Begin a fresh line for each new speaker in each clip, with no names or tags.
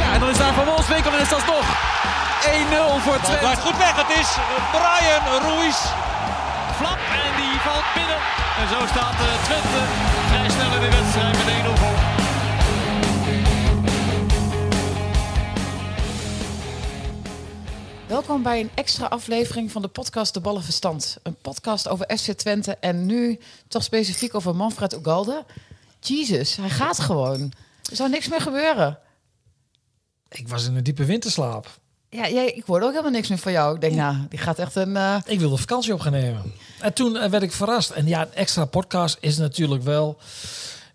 Ja, en dan is daar Van Wolfswinkel en is dat nog 1-0 voor Twente.
Blijft goed weg. Het is Brian Ruiz.
Flap en die valt binnen. En zo staat eh, Twente vrij snel in de wedstrijd met 1-0 voor.
Welkom bij een extra aflevering van de podcast De Ballenverstand. Een podcast over FC Twente en nu toch specifiek over Manfred Ugalde. Jesus, hij gaat gewoon. Er zou niks meer gebeuren.
Ik was in een diepe winterslaap.
Ja, jij, ik hoorde ook helemaal niks meer van jou. Ik denk, nou, die gaat echt een... eh,
Ik wilde vakantie op gaan nemen. En toen eh, werd ik verrast. En ja, een extra podcast is natuurlijk wel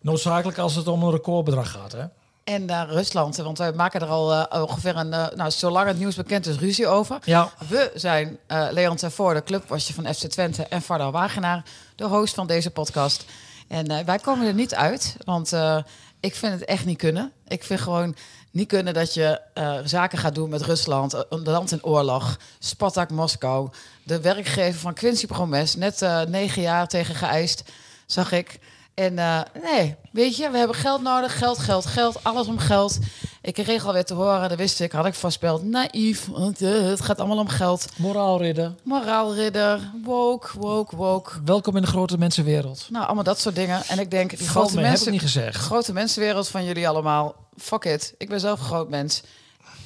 noodzakelijk als het om een recordbedrag gaat. Hè?
En naar Rusland, want wij maken er al eh, ongeveer een... eh, nou, zolang het nieuws bekend is, ruzie over.
Ja.
Nou, We zijn eh, Leon Tervoor, de clubwasje van FC Twente... en Vardal Wagenaar, de host van deze podcast. En eh, wij komen er niet uit, want eh, ik vind het echt niet kunnen. Ik vind gewoon niet kunnen dat je eh, zaken gaat doen met Rusland... eh, een land in oorlog, Spartak Moskou... de werkgever van Quincy Promes, net eh, negen jaar tegen geëist, zag ik... En eh, nee, weet je, we hebben geld nodig. Geld, geld, geld. Alles om geld. Ik kreeg alweer te horen, dat wist ik, had ik voorspeld. Naïef, want eh, het gaat allemaal om geld.
Moraalridder.
Moraalridder, woke, woke, woke.
Welkom in de grote mensenwereld.
Nou, allemaal dat soort dingen. En ik denk, die
Valt
grote,
mee, heb
mensen,
ik niet gezegd.
grote mensenwereld van jullie allemaal. Fuck it, ik ben zelf een groot mens.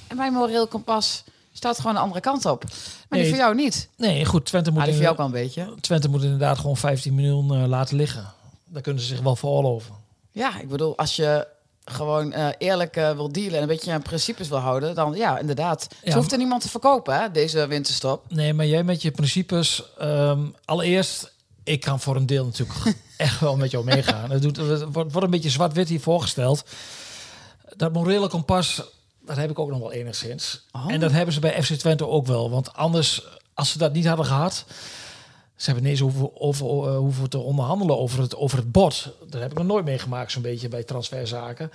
En mijn moreel kompas staat gewoon de andere kant op. Maar die
Nee.
voor jou niet.
Nee, goed. Twente
Maar
moet,
die voor jou
inderdaad,
wel een beetje.
Twente moet inderdaad gewoon 15 miljoen eh, laten liggen. Daar kunnen ze zich wel veroorloven.
Ja, ik bedoel, als je gewoon eh, eerlijk eh, wil dealen en een beetje aan principes wil houden, dan ja, inderdaad. Ze
Ja,
hoeft er niemand te verkopen, hè, deze winterstop.
Nee, maar jij met je principes. ehm, allereerst, ik kan voor een deel natuurlijk echt wel met jou meegaan. Het, doet, het wordt wordt een beetje zwart-wit hier voorgesteld. Dat morele kompas, dat heb ik ook nog wel enigszins. En dat hebben ze bij FC Twente ook wel. Want anders, als ze dat niet hadden gehad... Ze hebben ineens hoeven, over, eh, hoeven te onderhandelen over het, over het bod. Dat heb ik nog nooit meegemaakt, zo'n beetje bij transferzaken.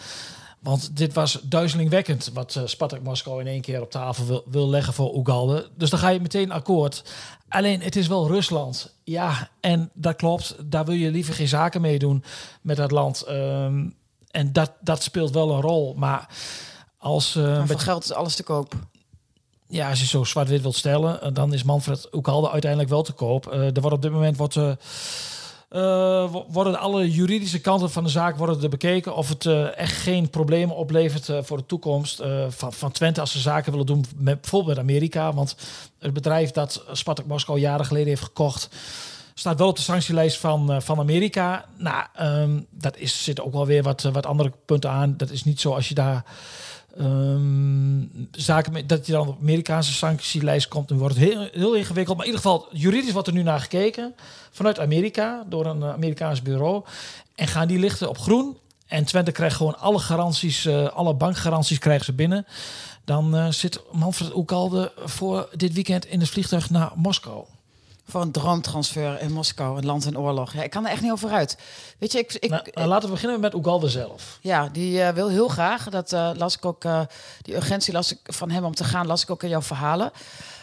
Want dit was duizelingwekkend wat eh, Spartak Moskou in één keer op tafel wil, wil leggen voor Ugalde. Dus dan ga je meteen akkoord. Alleen het is wel Rusland. Ja, en dat klopt. Daar wil je liever geen zaken mee doen met dat land. Ehm, en dat, dat speelt wel een rol. Maar als, eh,
Maar
met-
voor geld is alles te koop.
ja, als je zo zwart-wit wilt stellen, eh, dan is Manfred Oekalde uiteindelijk wel te koop. Eh, er wordt op dit moment wordt, eh, eh, wo- worden alle juridische kanten van de zaak worden er bekeken of het eh, echt geen problemen oplevert eh, voor de toekomst eh, van, van Twente als ze zaken willen doen met bijvoorbeeld met Amerika. Want het bedrijf dat Spartak Moskou jaren geleden heeft gekocht, staat wel op de sanctielijst van, eh, van Amerika. Nou, ehm, dat is, zit ook wel weer wat, eh, wat andere punten aan. Dat is niet zo als je daar ehm, zaken met, dat je dan op Amerikaanse sanctielijst komt. Dan wordt het heel, heel ingewikkeld. Maar in ieder geval, juridisch wordt er nu naar gekeken vanuit Amerika door een eh, Amerikaans bureau. En gaan die lichten op groen. En Twente krijgt gewoon alle garanties, eh, alle bankgaranties krijgen ze binnen. Dan eh, zit Manfred Oekalde voor dit weekend in het vliegtuig naar Moskou.
Voor een droomtransfer in Moskou, een land in oorlog. Ja, ik kan er echt niet over uit. Weet je, ik, ik,
Nou, nou, laten we beginnen met Oegalde zelf.
ja, die eh, wil heel graag. Dat eh, las ik ook, eh, die urgentie las ik van hem om te gaan, las ik ook in jouw verhalen.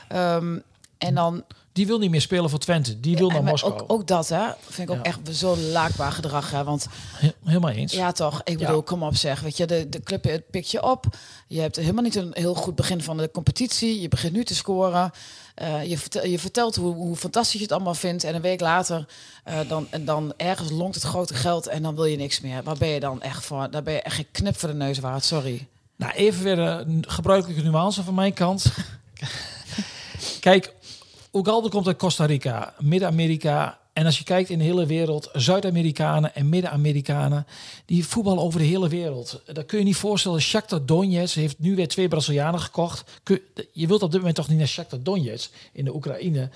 Ehm, en dan
Die wil niet meer spelen voor Twente. Die wil
en
naar
maar
Moskou.
Ook, ook dat, hè? Vind ik ook
Ja.
echt zo laakbaar gedrag. Hè? Want
He- helemaal eens.
Ja, toch. Ik bedoel, kom op zeg. Weet je, de, de club eh, pikt je op. Je hebt helemaal niet een heel goed begin van de competitie. Je begint nu te scoren. Eh, je, vertel- je vertelt hoe, hoe fantastisch je het allemaal vindt. En een week later, eh, dan, en dan ergens lonkt het grote geld en dan wil je niks meer. Waar ben je dan echt voor? Daar ben je echt geen knip voor de neus waard, sorry.
Nou, even weer een gebruikelijke nuance van mijn kant. Kijk, Ugalde komt uit Costa Rica, Midden-Amerika. En als je kijkt in de hele wereld, Zuid-Amerikanen en Midden-Amerikanen, die voetballen over de hele wereld. Dat kun je niet voorstellen. Shakhtar Donetsk heeft nu weer twee Brazilianen gekocht. Kun- Je wilt op dit moment toch niet naar Shakhtar Donetsk in de Oekraïne.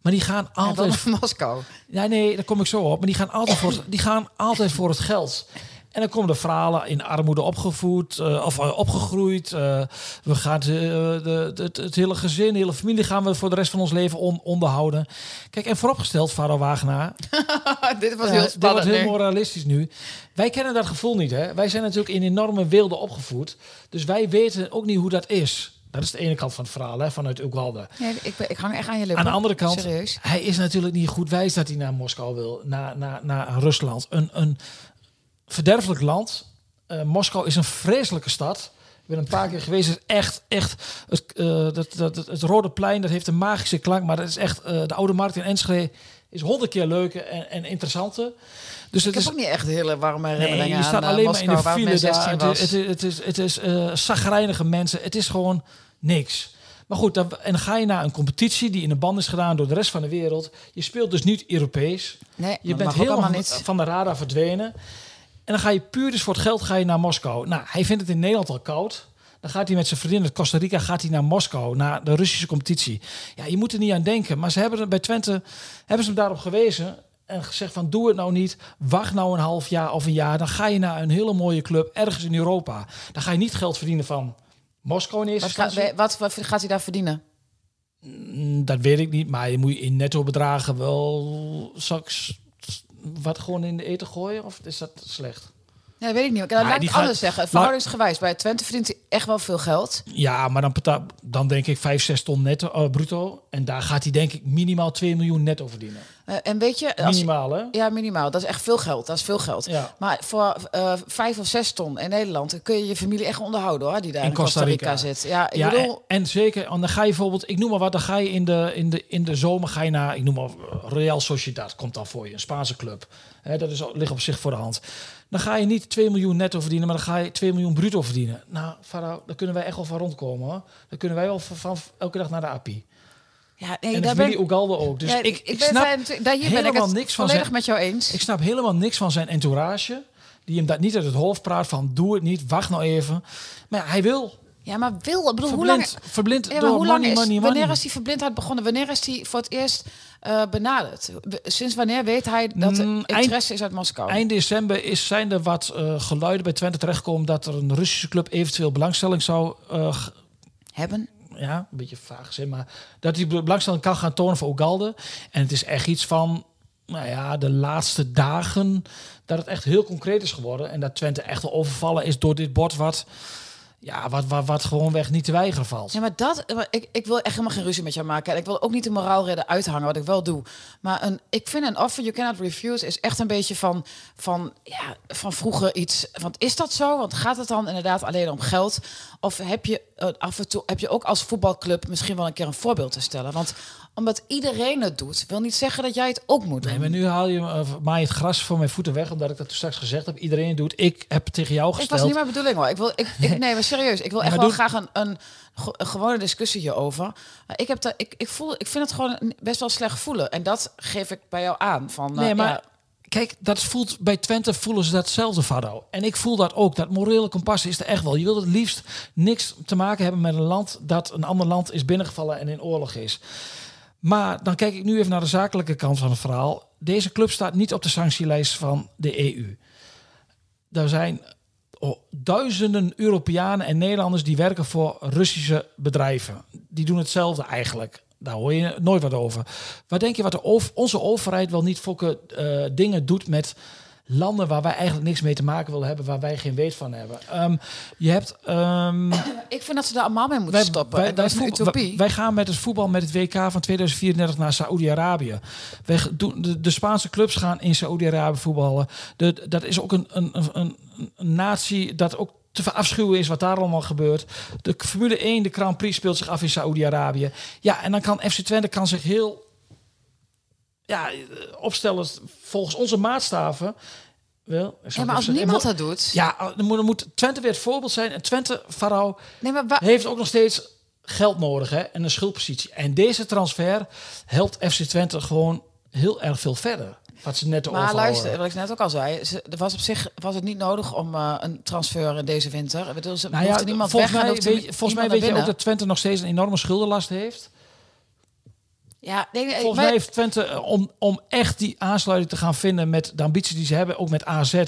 Maar die gaan
En dan
altijd
naar Moskou.
Ja, nee, daar kom ik zo op. Maar die gaan altijd voor het, die gaan altijd voor het geld. En dan komen de verhalen in armoede opgevoed eh, of eh, opgegroeid. eh, we gaan het, eh, de- de- het, het hele gezin, de hele familie gaan we voor de rest van ons leven on- onderhouden. Kijk, en vooropgesteld, Farah Wagenaar,
Ah, dit was
ja,
heel
dit wordt
spannend.
heel
nu.
moralistisch nu. Wij kennen dat gevoel niet. Hè? Wij zijn natuurlijk in enorme wilde opgevoed. Dus wij weten ook niet hoe dat is. Dat is de ene kant van het verhaal, hè, vanuit Ugalde.
Nee, ik, ben- ik hang echt aan je lippen.
Aan de andere kant,
Serieus.
hij is natuurlijk niet goed wijs dat hij naar Moskou wil, naar, naar, naar Rusland. Een, een verderfelijk land. Eh, Moskou is een vreselijke stad. Ik ben een paar keer geweest. Het is echt, echt. Het, eh, dat, dat, het, het Rode Plein, dat heeft een magische klank. Maar dat is echt. eh, de Oude Markt in Enschede is honderd keer leuker en, en interessanter. Dus
Ik heb
het is
ook niet echt hele warme herinneringen
Nee, je
aan
staat
eh,
alleen maar in
Moskou,
de
waar ik mijn
file daar.
16
Het,
was.
is- het, is- het is, het is eh zagrijnige mensen. Het is gewoon niks. Maar goed, dan, en dan ga je naar een competitie die in de band is gedaan door de rest van de wereld. Je speelt dus niet Europees.
nee,
Je
dat
bent
mag ook
helemaal
allemaal
niet.
niet.
van de radar verdwenen. En dan ga je puur dus voor het geld ga je naar Moskou. Nou, hij vindt het in Nederland al koud. Dan gaat hij met zijn vriendin uit Costa Rica gaat hij naar Moskou, naar de Russische competitie. Ja, je moet er niet aan denken. Maar ze hebben er bij Twente hebben ze hem daarop gewezen. En gezegd van doe het nou niet. Wacht nou een half jaar of een jaar. Dan ga je naar een hele mooie club ergens in Europa. Dan ga je niet geld verdienen van Moskou in eerste
Wat, gaat-
instantie.
wat, wat gaat hij daar verdienen?
Mm, Dat weet ik niet. Maar je moet in netto bedragen wel straks wat gewoon in de eten gooien. Of is dat slecht?
Ja, weet ik niet. Ik- nou,
Nee,
laat ik
die
het
gaat-
anders zeggen.
maar-
Verhoudingsgewijs, bij Twente verdient hij echt wel veel geld.
Ja, maar dan, betaal- dan denk ik 5, 6 ton netto, eh, bruto. En daar gaat hij denk ik minimaal 2 miljoen netto verdienen.
Eh, en weet je... Als,
Minimaal, hè?
Ja, minimaal. Dat is echt veel geld. Dat is veel geld.
Ja.
Maar voor eh, vijf of zes ton in Nederland dan kun je je familie echt onderhouden, hoor. Die daar in, Costa Rica, zit. Ja, ik
Ja,
bedoel...
en, en zeker, en dan ga je bijvoorbeeld, ik noem maar wat, dan ga je in de, in de, in de zomer ga je naar, ik noem maar Real Sociedad, komt dan voor je, een Spaanse club. Hè, dat is, al- ligt op zich voor de hand. Dan ga je niet 2 miljoen netto verdienen, maar dan ga je 2 miljoen bruto verdienen. Nou, Farao, daar kunnen wij echt wel van rondkomen hoor. Daar kunnen wij wel van, van elke dag naar de API.
ja, nee,
en de
daar
familie
ben,
Ugalde ook. Dus
ja,
ik, ik,
ben
snap,
daar natuurlijk- daar, hier ben ik
helemaal
het
niks van
volledig
zijn-
met jou eens.
ik snap helemaal niks van zijn entourage. Die hem dat niet uit het hoofd praat van doe het niet, wacht nou even. Maar ja, hij wil.
ja, maar wil... Ik bedoel, hoe lang...
Verblind, verblind
Ja, maar
door
hoe lang
money,
is,
money, money.
wanneer is die verblindheid begonnen? Wanneer is die voor het eerst eh, benaderd? W- Sinds wanneer weet hij dat er
Mm, eind-
interesse is uit Moskou?
Eind december is, zijn er wat eh, geluiden bij Twente terechtkomen dat er een Russische club eventueel belangstelling zou eh, g-
Hebben?
ja, een beetje vaag gezegd, maar dat hij belangstelling kan gaan tonen voor Ugalde. En het is echt iets van, nou ja, de laatste dagen dat het echt heel concreet is geworden. En dat Twente echt al overvallen is door dit bord wat, ja, wat, wat, wat gewoonweg niet te weigeren valt.
Ja, maar dat, maar ik, ik wil echt helemaal geen ruzie met jou maken. En ik wil ook niet de moraalredder uithangen, wat ik wel doe. Maar een, ik vind een offer you cannot refuse is echt een beetje van, van, ja, van vroeger iets. Want is dat zo? Want gaat het dan inderdaad alleen om geld? Of heb je eh, af en toe heb je ook als voetbalclub misschien wel een keer een voorbeeld te stellen? Want omdat iedereen het doet, wil niet zeggen dat jij het ook moet doen.
Nee, maar nu haal je eh, mij het gras voor mijn voeten weg, omdat ik dat toen straks gezegd heb. Iedereen doet. Ik heb tegen jou
Ik
gesteld.
was niet mijn bedoeling hoor. Ik wil, ik, ik, nee, maar serieus. Ik wil echt
maar
wel
doe-
graag een, een, ge- een gewone discussie hierover. Maar Ik, heb daar- ik, ik, voel, ik vind het gewoon een- best wel slecht voelen. En dat geef ik bij jou aan. Van, eh,
Nee, maar
ja,
kijk, dat voelt, bij Twente voelen ze datzelfde, Fado. En ik voel dat ook. Dat morele kompas is er echt wel. Je wilt het liefst niks te maken hebben met een land dat een ander land is binnengevallen en in oorlog is. Maar dan kijk ik nu even naar de zakelijke kant van het verhaal. Deze club staat niet op de sanctielijst van de E EU. Er zijn oh, duizenden Europeanen en Nederlanders die werken voor Russische bedrijven. Die doen hetzelfde eigenlijk. Daar hoor je nooit wat over. Wat denk je wat de ov- onze overheid wel niet fokken eh, dingen doet met landen waar wij eigenlijk niks mee te maken willen hebben, waar wij geen weet van hebben? Ehm, je hebt ehm,
ik vind dat ze daar allemaal mee moeten stoppen. en dat is een
voetbal-
utopie.
wij- wij gaan met het voetbal met het WK van 2034 naar Saoedi-Arabië. Wij g- doen- De, de Spaanse clubs gaan in Saoedi-Arabië voetballen. De, dat is ook een, een, een, een, een natie dat ook te verafschuwen is wat daar allemaal gebeurt. De Formule 1, de Grand Prix speelt zich af in Saoedi-Arabië. Ja, en dan kan FC Twente kan zich heel ja, eh, opstellen volgens onze maatstaven. Wel,
ja, maar als niemand dat doet...
Ja, dan moet, dan moet Twente weer het voorbeeld zijn. En Twente, Farao,
nee, maar wa-
heeft ook nog steeds geld nodig hè, en een schuldpositie. En deze transfer helpt FC Twente gewoon heel erg veel verder. Wat ze net
Maar
over
luister, wat ik net ook al zei, ze- er was op zich was het niet nodig om eh, een transfer in deze winter. Ik bedoel, ze
nou
hoefde
ja,
niemand
volgens
weg. en
mij,
hoefde
weet,
nie-
volgens mij
niemand
weet je ook
naar
dat Twente nog steeds een enorme schuldenlast heeft.
binnen. Ja, nee, nee,
Volgens
wij-
mij heeft Twente, eh, om, om echt die aansluiting te gaan vinden met de ambities die ze hebben, ook met AZ,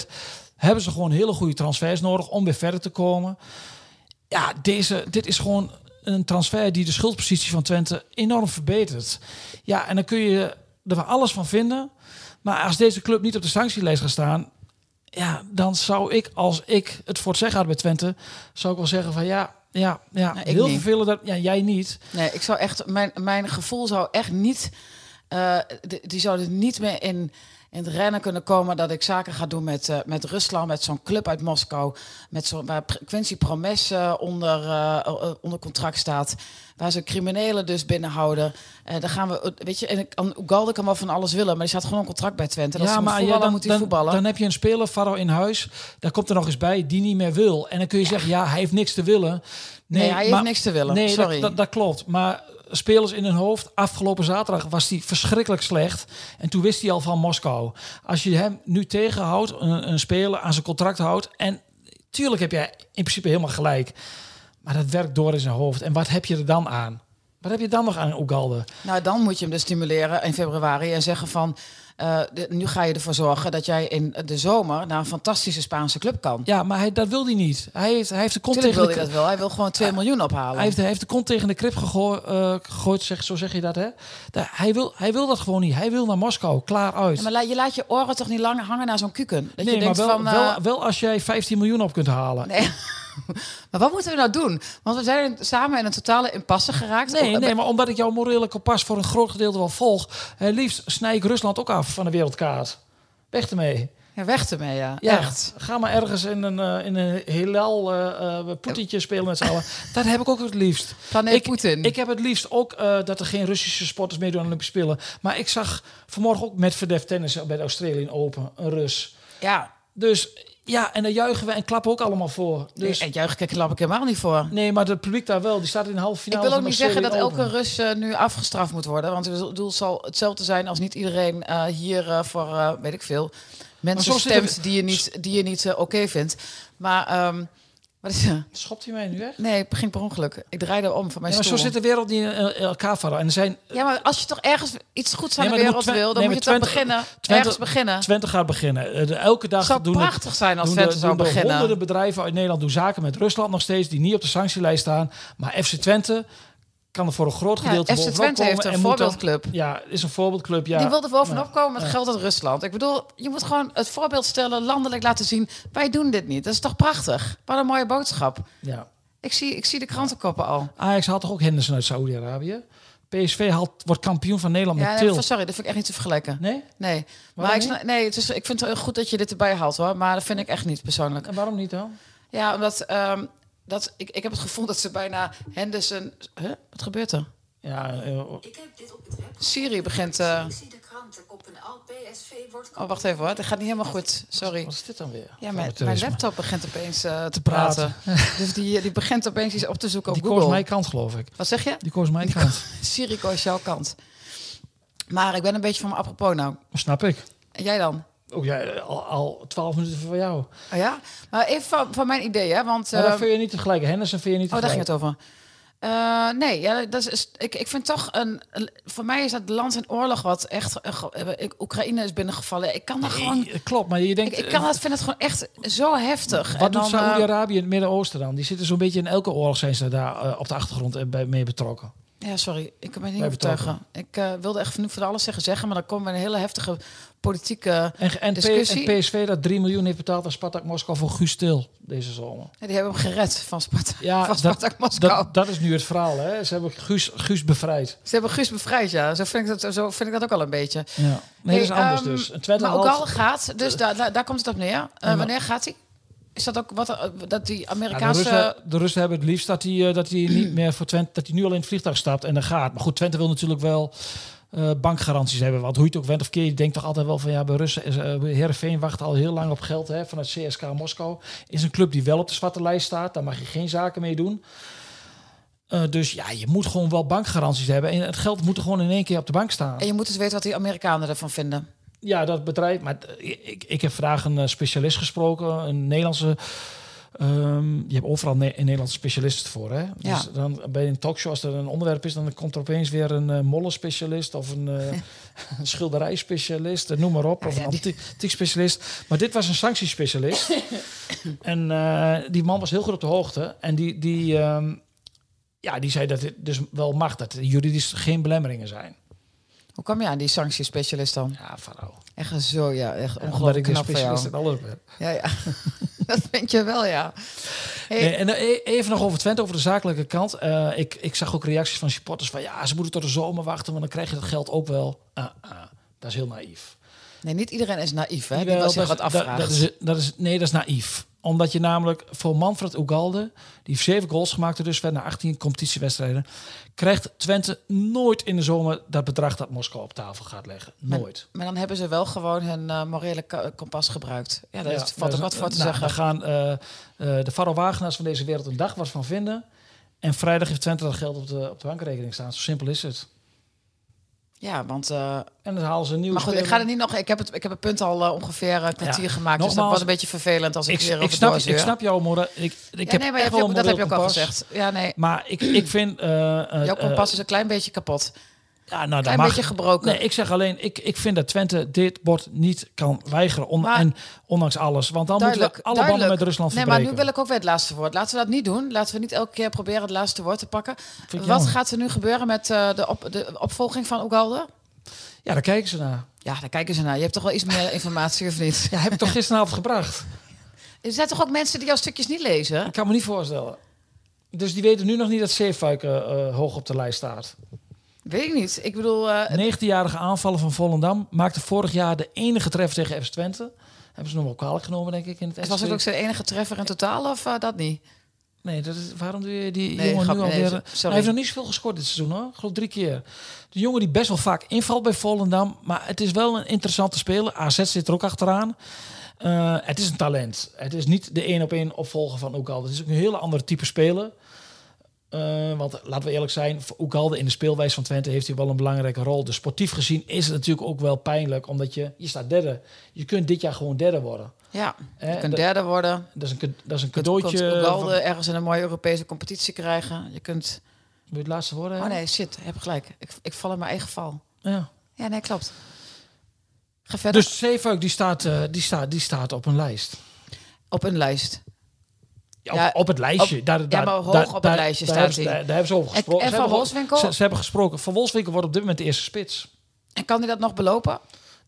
hebben ze gewoon hele goede transfers nodig om weer verder te komen. Ja, deze, dit is gewoon een transfer die de schuldpositie van Twente enorm verbetert. Ja, en dan kun je er van alles van vinden. Maar als deze club niet op de sanctielijst gaat staan, ja, dan zou ik, als ik het voor het zeggen had bij Twente, zou ik wel zeggen van ja, ja, ja,
Nou, ik
heel
niet.
vervelend. Dat, ja, jij niet.
Nee, ik zou echt, mijn, mijn gevoel zou echt niet, eh, d- die zou er niet meer in, in het rennen kunnen komen dat ik zaken ga doen met, eh, met Rusland, met zo'n club uit Moskou, met zo'n waar Pr- Quincy Promes eh, onder, eh, eh, onder contract staat, waar ze criminelen dus binnenhouden. Eh dan gaan we, eh, weet je, en ik, en Ugalde kan wel van alles willen, maar die staat gewoon een contract bij Twente. En als ja, maar voetballen,
dan,
moet hij
dan,
voetballen.
dan heb je een speler, Faro in huis, daar komt er nog eens bij die niet meer wil. En dan kun je zeggen, ja, hij heeft niks te willen.
Nee, hij heeft niks te willen.
Nee,
Sorry.
Dat, dat, dat klopt. Maar spelers in hun hoofd, afgelopen zaterdag was hij verschrikkelijk slecht. En toen wist hij al van Moskou. Als je hem nu tegenhoudt, een, een speler aan zijn contract houdt. En tuurlijk heb jij in principe helemaal gelijk. Maar dat werkt door in zijn hoofd. En wat heb je er dan aan? Wat heb je dan nog aan Ugalde?
Nou, dan moet je hem dus stimuleren in februari en zeggen van... eh, de- nu ga je ervoor zorgen dat jij in de zomer naar een fantastische Spaanse club kan.
Ja, maar hij, dat wil hij niet. Hij heeft, hij heeft de kont
Natuurlijk wil
tegen de
hij dat wel. Hij wil gewoon 2 miljoen ophalen.
Hij heeft, hij heeft de kont tegen de krip gegoo- eh, gegooid, zeg, zo zeg je dat, hè? Da- hij, wil, hij wil dat gewoon niet. Hij wil naar Moskou, klaar uit.
Ja, maar la- je laat je oren toch niet langer hangen naar zo'n kuken? Dat je
nee, maar
denkt
wel,
van... eh,
wel, wel als jij 15 miljoen op kunt halen.
nee. maar wat moeten we nou doen? Want we zijn samen in een totale impasse geraakt.
Nee,
Om-
nee, maar omdat ik jouw morele kompas voor een groot gedeelte wel volg... eh, liefst snij ik Rusland ook af van de wereldkaart. Weg ermee.
Ja, Weg ermee, ja.
Ja,
Echt.
Ga maar ergens in een, eh, in een heelal eh eh, Poetietje spelen met z'n allen. Dat heb ik ook het liefst.
Planeet
ik,
eh, Poetin.
Ik heb het liefst ook eh, dat er geen Russische sporters meedoen aan de Olympische Spelen. Maar ik zag vanmorgen ook met Verdef tennis bij de Australian Open, een Rus.
Ja.
Dus ja, en daar juichen we en klappen ook allemaal voor. Dus,
En juich ik klap ik helemaal niet voor.
nee, maar het publiek daar wel, die staat in de halve
Ik
finale.
wil ook
van de
niet zeggen dat
Australian
elke
Open.
Rus eh, nu afgestraft moet worden. Want het doel zal hetzelfde zijn als niet iedereen eh, hier eh, voor, eh, weet ik veel, mensen
soms zitten we-
stemt die je niet, die je niet eh, oké vindt. Maar, ehm, wat is er?
Schopt hij mij nu weg?
Nee, ik ging per ongeluk. Ik draaide om van mijn
Ja, maar zo
stoel.
zit de wereld niet in eh, elkaar vallen. En er zijn
Ja, maar als je toch ergens iets goeds aan
Nee,
de
maar
wereld
dan moet Twen-
wil, dan
nee,
moet je
maar
toch
Twente-
beginnen.
Twente-
ergens beginnen.
Twente gaat beginnen. Eh, de- Elke dag
Het zou
doen de-
prachtig zijn als
doen
Twente
de-
zou
doen de
beginnen.
Honderden bedrijven uit Nederland doen zaken met Rusland nog steeds die niet op de sanctielijst staan, maar FC Twente kan er voor een groot
Ja,
gedeelte
FC
bovenop
Twente
komen
heeft een
en moet dan-
voorbeeldclub.
ja, is een voorbeeldclub. Ja.
Die wil er bovenop komen met geld uit Rusland. Ik bedoel, je moet gewoon het voorbeeld stellen, landelijk laten zien. Wij doen dit niet. Dat is toch prachtig? Wat een mooie boodschap.
Ja.
Ik zie, ik zie de krantenkoppen al.
Ajax haalt toch ook Henderson uit Saudi-Arabië. PSV haalt, wordt kampioen van Nederland
Ja,
met
nee,
Til.
van- sorry, dat vind ik echt niet te vergelijken.
Nee?
Nee, maar
Waarom
ik, sna- nee, het is, ik vind het heel goed dat je dit erbij haalt hoor. Maar dat vind ik echt niet persoonlijk.
En waarom niet dan?
Ja, omdat ehm, dat, ik, ik heb het gevoel dat ze bijna Henderson. Huh? Wat gebeurt er?
Ja, eh,
Ik heb dit op het web.
Syrië begint. eh,
Ik zie de krantenkoppen al. PSV wordt
Oh, wacht even hoor. Dat gaat niet helemaal goed. Sorry.
wat is dit dan weer?
Ja, mijn, mijn
Amateurisme.
laptop begint opeens eh, te
praten.
praten. dus die, die begint opeens iets op te zoeken op
Die koos
Google.
mijn kant, geloof ik.
Wat zeg je?
Die koos mijn kant.
Sirico is jouw kant. Maar ik ben een beetje van mijn apropos nou.
Snap ik.
En jij dan?
Oh ja, al, al 12 minuten voor jou.
Oh ja? Maar even van, van mijn idee, hè? Want.
Maar
eh,
Nou, daar vind je niet tegelijk. Henderson vind je niet
Oh, daar
tegelijk.
ging het over. Eh, nee, ja, dat is, ik, ik vind toch een. een- Voor mij is dat land en oorlog wat echt. eh, ge- eh, ik- Oekraïne is binnengevallen. Ik kan daar gewoon.
Eh, Klopt, maar je
Ik,
denkt...
ik kan
eh,
dat, vind het gewoon echt zo heftig. En
Wat
dan,
doet
eh,
Saoedi-Arabië in het Midden-Oosten dan? Die zitten zo'n beetje in elke oorlog zijn ze daar eh, op de achtergrond eh, bij, mee betrokken.
eh, Ja, sorry, ik kan me niet
Wij
overtuigen. Ik eh, wilde echt nu voor alles zeggen, zeggen, maar dan komen we in een hele heftige politieke.
En, ge- en, P-
Discussie?
en PSV dat 3 miljoen heeft betaald aan Spartak Moskou voor Guus Til deze zomer.
Nee, die hebben hem gered van Spartak,
Ja,
van
dat-
Spartak Moskou.
Dat, dat is nu het verhaal, hè? Ze hebben Guus, Guus bevrijd.
Ze hebben Guus bevrijd, ja. Zo vind ik dat, zo vind ik dat ook al een beetje.
Ja. Nee, dat is
Hey,
anders
ehm,
dus. Een Twente
maar ook al
haalt...
gaat, dus daar, daar, daar komt het op neer. Eh,
maar-
wanneer gaat hij? Is dat ook wat eh, dat die
Ja,
Amerikaanse.
de, Russen, de Russen hebben het liefst dat hij, eh, dat hij niet meer voor Twente, dat hij nu al in het vliegtuig stapt en dan gaat. Maar goed, Twente wil natuurlijk wel eh, bankgaranties hebben. Want hoe je het ook went of keer, je denkt toch altijd wel van ja, bij Russen is eh, Heerenveen wacht al heel lang op geld hè, vanuit CSK Moskou. Is een club die wel op de zwarte lijst staat, daar mag je geen zaken mee doen. Eh, dus ja, je moet gewoon wel bankgaranties hebben. En het geld moet er gewoon in één keer op de bank staan.
En je moet dus weten wat die Amerikanen ervan vinden.
eh, Ja, dat bedrijf. Maar t- ik, ik heb vandaag een eh, specialist gesproken, een Nederlandse Ehm, je hebt overal ne- in Nederland specialisten voor. Hè?
Ja.
Dus dan bij een talkshow, als er een onderwerp is, dan komt er opeens weer een eh mollenspecialist of een, eh een schilderijspecialist, eh, noem maar op,
Ja,
of
ja,
een
die-
antie- antiekspecialist. Maar dit was een sanctiespecialist. en eh, die man was heel goed op de hoogte. En die, die, ehm, ja, die zei dat het dus wel mag, dat er juridisch geen belemmeringen zijn.
Hoe kwam je aan die sanctiespecialist dan?
Ja, Farao.
Echt een zo, ja. Echt
Omdat ik
ongelooflijk
een
knap van jou.
specialist in alles ben.
Ja, ja. dat vind je wel, ja. Hey,
Nee, en eh, even nog over Twente, over de zakelijke kant. Eh, ik, ik zag ook reacties van supporters van... ja, ze moeten tot de zomer wachten, want dan krijg je dat geld ook wel. Ah, ah, dat is heel naïef.
nee, niet iedereen is naïef, hè? Die
Jawel,
wel zich
dat
wat
is- dat-
afvraagt.
dat is, dat is, nee, dat is naïef. Omdat je namelijk voor Manfred Ugalde... die heeft zeven goals gemaakt, dus verder na 18 competitiewedstrijden... krijgt Twente nooit in de zomer dat bedrag dat Moskou op tafel gaat leggen.
Maar-
Nooit.
Maar dan hebben ze wel gewoon hun eh, morele ka- kompas gebruikt. Ja, daar
Ja,
is- valt
dus,
ook wat voor te
nou,
zeggen.
daar gaan eh, eh, de Faro Wagenaars van deze wereld een dag wat van vinden. En vrijdag heeft Twente dat geld op de, op de bankrekening staan. Zo simpel is het.
Ja, want... eh,
En dan halen ze een nieuwe
maar goed, ik
speler.
ga er niet nog... Ik heb het, ik heb het punt al eh, ongeveer een kwartier
Ja,
gemaakt. dus dat
nogmaals,
was een beetje vervelend als ik,
Ik,
weer
ik,
over
snap,
doorzeur.
ik snap jou, Morra. Ik, ik
ja,
heb
nee, maar
echt
heb
wel
je,
een
dat heb je
moreel
ook al
kompas.
gezegd. Ja, nee.
Maar ik, ik vind... eh, eh,
Jouw
eh,
kompas is een klein beetje kapot.
ja, nou,
Klein
dat mag.
beetje gebroken.
Nee, ik zeg alleen, ik, ik vind dat Twente dit bord niet kan weigeren. On-
Maar-
en ondanks alles. Want dan
duidelijk,
moeten we alle
duidelijk.
banden met Rusland
Nee,
verbreken.
maar nu wil ik ook weer het laatste woord. Laten we dat niet doen. Laten we niet elke keer proberen het laatste woord te pakken.
ik
Wat
jammer.
gaat er nu gebeuren met eh, de, op, de opvolging van Oegalde?
Ja, daar kijken ze naar.
Ja, daar kijken ze naar. Je hebt toch wel iets meer informatie, of niet?
Ja, heb ik toch gisteravond gebracht?
Er zijn toch ook mensen die jouw stukjes niet lezen?
Ik kan me niet voorstellen. Dus die weten nu nog niet dat Zeefuik eh, eh, hoog op de lijst staat.
Weet ik niet. Ik bedoel, eh,
19-jarige aanvaller van Volendam maakte vorig jaar de enige tref tegen FC Twente. Hebben ze nog wel kwalijk genomen, denk ik. In het
was het
FC.
ook zijn enige treffer in totaal of eh, dat niet?
Nee, dat is, waarom doe je die
Nee,
jongen
grap,
nu
nee,
alweer... eh,
sorry.
Hij heeft nog niet zoveel gescoord dit seizoen, hoor. Ik geloof drie keer. De jongen die best wel vaak invalt bij Volendam. Maar het is wel een interessante speler. AZ zit er ook achteraan. Eh, het is een talent. Het is niet de één-op-één opvolger van Oekalde. Het is ook een hele andere type speler. Eh, want laten we eerlijk zijn, voor Oekalde in de speelwijze van Twente heeft hij wel een belangrijke rol. Dus sportief gezien is het natuurlijk ook wel pijnlijk, omdat je, je staat derde. Je kunt dit jaar gewoon derde worden.
Ja,
Eh,
je kunt
dat-
derde worden.
Dat is een, cade- dat is een
Je kunt
cadeautje.
Oegalde
van-
ergens in een mooie Europese competitie krijgen. Je kunt...
Wil je het laatste woord
Oh
hebben?
nee, shit, heb gelijk. Ik, ik val in mijn eigen val.
Ja.
Ja, nee, klopt. Ga verder
Dus Zeefuik die staat, eh, die, staat, die staat op een lijst.
op een lijst.
Ja, op-
Ja,
op, het lijstje.
op-
daar,
ja,
daar-
maar hoog
daar-
op het
daar-
lijstje
daar
staat
hebben ze-
hij.
Daar, daar hebben ze over
En-
gesproken.
en
Ze
Van
hebben-
Wolfswinkel?
Ze, ze hebben gesproken. Van Wolfswinkel wordt op dit moment de eerste spits.
En kan hij dat nog belopen?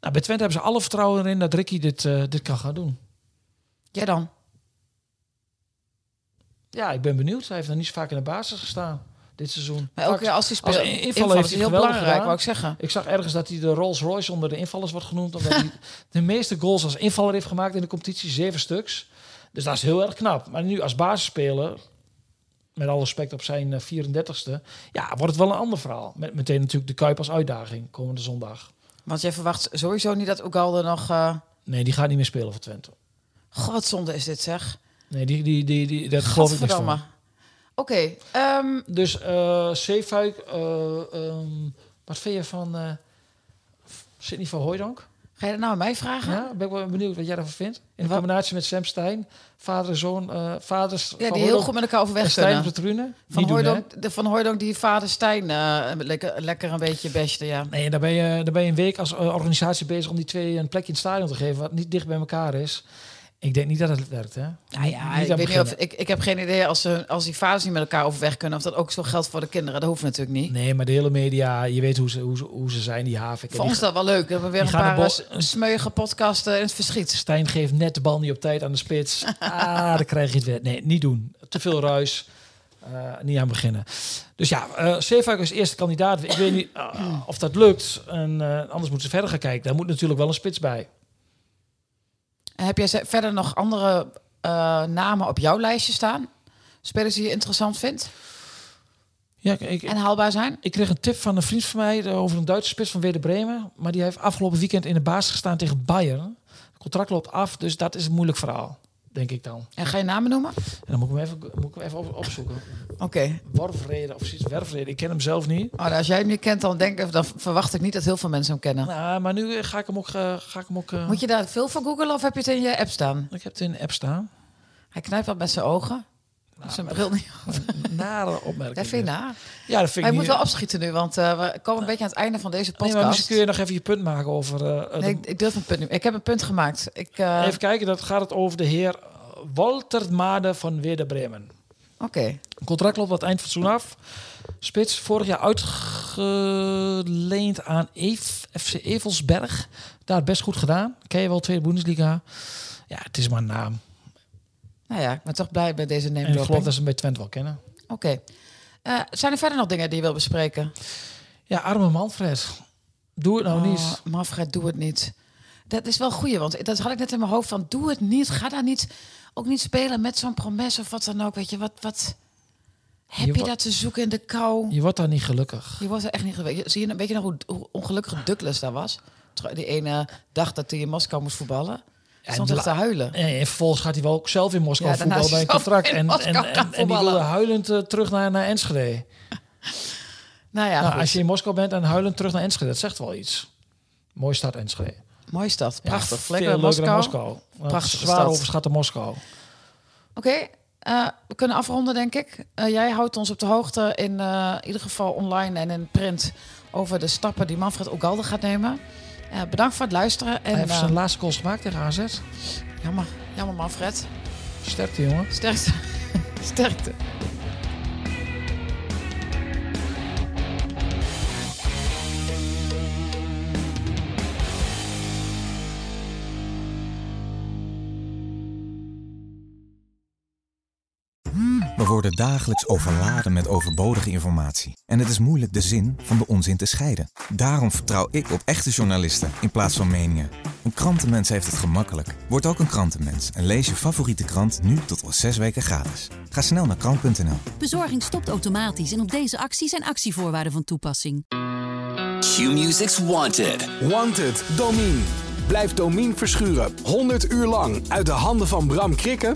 Nou, bij Twente hebben ze alle vertrouwen erin dat Ricky dit, eh, dit kan gaan doen.
Jij dan?
Ja, ik ben benieuwd. Hij heeft nog niet zo vaak in de basis gestaan dit seizoen.
Maar elke keer als hij speelt,
als invaller
invallen
heeft
is
hij
heel
geweldig
belangrijk,
gedaan.
wou ik zeggen.
Ik zag ergens dat hij de Rolls Royce onder de invallers wordt genoemd. Omdat hij de meeste goals als invaller heeft gemaakt in de competitie. Zeven stuks. Dus dat is heel erg knap. Maar nu als basisspeler, met alle respect op zijn eh, 34ste... Ja, wordt het wel een ander verhaal. Met meteen natuurlijk de Kuip als uitdaging komende zondag.
Want jij verwacht sowieso niet dat Ugalde nog... eh
Nee, die gaat niet meer spelen voor Twente.
God, wat zonde is dit, zeg.
Nee, die, die, die, die, dat geloof ik niet
Gadverdamme.
van.
Oké, ehm,
Dus eh Zeefuik, eh, ehm, wat vind je van eh Sidney van Hooijdonk?
ga je dat nou aan mij vragen?
Ja, ben ik wel benieuwd wat jij daarvan vindt. In
Wat-
combinatie met Sam Stein, vader en zoon, eh vaders
Ja,
van
die heel
Hooijdonk
goed met elkaar
en
overweg
Stijn
kunnen.
op de trune.
Van
Niet doen, hè?
Hooydonk, de van Hooydonk die vader Stijn eh, lekker, lekker een beetje beste, ja.
Nee, daar ben, je, daar ben je een week als eh, organisatie bezig om die twee een plekje in het stadion te geven, wat niet dicht bij elkaar is. Ik denk niet dat het werkt, hè?
Ah, Ja, ja
Niet
ik,
aan
weet niet
beginnen.
of, ik, ik heb geen idee als, ze, als die vaders niet met elkaar overweg kunnen... of dat ook zo geldt voor de kinderen. Dat hoeft natuurlijk niet.
Nee, maar de hele media, je weet hoe ze, hoe ze, hoe ze zijn, die havik. en
Voor
die
ons is dat wel leuk. We hebben weer
die
een
gaan
paar
de
eh,
bal-
s- smeuïge podcasten in het verschiet.
Stijn geeft net de bal niet op tijd aan de spits. Ah, dan krijg je het weer. Nee, niet doen. Te veel ruis. Eh, niet aan beginnen. Dus ja, eh Zeefuik is eerste kandidaat. Ik weet niet eh, of dat lukt. En, eh, anders moeten ze verder gaan kijken. Daar moet natuurlijk wel een spits bij.
En heb jij ze- verder nog andere eh, namen op jouw lijstje staan? Spelers die je interessant vindt
Ja, ik, ik,
en haalbaar zijn?
ik kreeg een tip van een vriend van mij eh, over een Duitse spits van Werder Bremen. Maar die heeft afgelopen weekend in de baas gestaan tegen Bayern. Het contract loopt af, dus dat is een moeilijk verhaal. Denk ik dan.
En ga je namen noemen?
En dan moet ik hem even, moet ik hem even op- opzoeken.
Oké.
Worvreden of zoiets. Wervreden. Ik ken hem zelf niet.
Oh, nou, als jij hem niet kent, dan, denk, ik- dan verwacht ik niet dat heel veel mensen hem kennen.
Nou, maar nu eh, ga ik hem ook. eh, ga ik, hem ook eh,
Moet je daar veel voor googlen of heb je het in je app staan?
ik heb het in de app staan.
Hij knijpt wat met zijn ogen. Met zijn bril niet.
Nare opmerking.
Dat vind je na.
Ja, Nou, dat vind
Hij
ik
moet
niet-
wel opschieten nu, want eh, we komen een beetje aan het einde van deze
Nee, maar misschien
podcast.
kun je nog even je punt maken over... eh,
Nee,
de-
ik, ik durf een punt niet meer. Ik heb een punt gemaakt. Ik, eh,
Even kijken, dat gaat het over de heer Walter Made van Werder Bremen.
Oké.
Contract loopt aan het eind van het seizoen af. Spits vorig jaar uitgeleend aan Eef- FC Evelsberg. Daar best goed gedaan. Ken je wel tweede Bundesliga. Ja, het is maar een naam.
Nou ja, ik ben toch blij bij deze
En ik geloof dat
neemdoping.
ze hem bij Twente wel kennen.
Oké. Eh, zijn er verder nog dingen die je wil bespreken?
Ja, arme Manfred. Doe het nou niet.
Oh, Manfred, doe het niet. Dat is wel goed, want dat had ik net in mijn hoofd van doe het niet. Ga daar niet ook niet spelen met zo'n promes of wat dan ook. Weet je, wat, wat heb
Je
je,
wa-
daar te zoeken in de kou?
Je wordt daar niet gelukkig.
Je was er echt niet geweest. Zie je een beetje nog hoe, hoe ongelukkig Douglas daar was? Tro- Die ene dag dat hij in Moskou moest voetballen.
Ja,
Stond
en
echt te huilen.
En en vervolgens gaat hij wel ook zelf in Moskou
Ja, daarna
voetballen
is
bij een
hij zelf
contract.
in
En, en,
Moskou gaan
en, en die
voetballen.
wilde huilend eh, terug naar, naar Enschede.
Nou ja,
nou,
goed.
als je in Moskou bent en huilend terug naar Enschede, dat zegt wel iets. Mooi start Enschede.
mooie stad. Prachtig.
veel
Lekker
leuker
Moskou.
dan
Moskou.
Moskou.
Prachtige
Prachtig. Zwaar
stad.
overschatte Moskou.
Oké, eh, we kunnen afronden, denk ik. Eh, jij houdt ons op de hoogte, in eh, ieder geval online en in print, over de stappen die Manfred Ogalde gaat nemen. Eh, bedankt voor het luisteren. En,
Hij heeft
eh,
zijn laatste goals gemaakt tegen AZ.
jammer, jammer, Manfred.
Sterkte, jongen.
Sterkte. Sterkte.
We worden dagelijks overladen met overbodige informatie. En het is moeilijk de zin van de onzin te scheiden. Daarom vertrouw ik op echte journalisten in plaats van meningen. Een krantenmens heeft het gemakkelijk. Word ook een krantenmens en lees je favoriete krant nu tot al zes weken gratis. Ga snel naar krant.nl.
Bezorging stopt automatisch en op deze actie zijn actievoorwaarden van toepassing.
Q-Music's Wanted.
Wanted, Domine. Blijf Domine verschuren 100 uur lang uit de handen van Bram Krikke?